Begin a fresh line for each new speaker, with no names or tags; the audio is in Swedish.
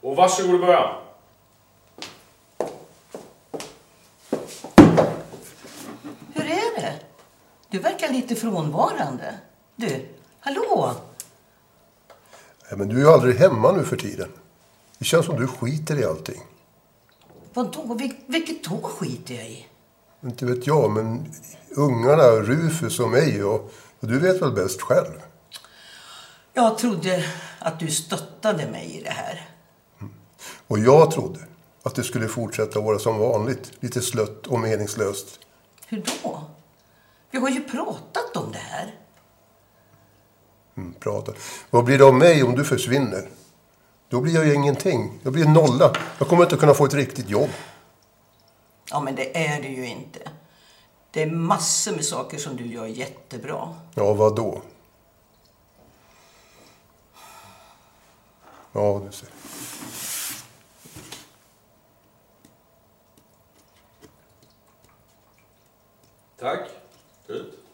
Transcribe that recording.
Och varsågod och börja.
Hur är det? Du verkar lite frånvarande. Du, hallå?
Nej, men du är ju aldrig hemma nu för tiden. Det känns som du skiter i allting.
Vadå? Vil- vilket då skiter jag i?
Inte vet jag, men ungarna, Rufus och mig och, och du vet väl bäst själv?
Jag trodde att du stöttade mig i det här.
Och jag trodde att det skulle fortsätta vara som vanligt, lite slött och meningslöst.
Hur då? Vi har ju pratat om det här.
Mm, prata. Vad blir det av mig om du försvinner? Då blir jag ju ingenting. Jag blir nolla. Jag kommer inte kunna få ett riktigt jobb.
Ja, men det är det ju inte. Det är massor med saker som du gör jättebra.
Ja, vad då? Ja, du ser.
Tack. Slut.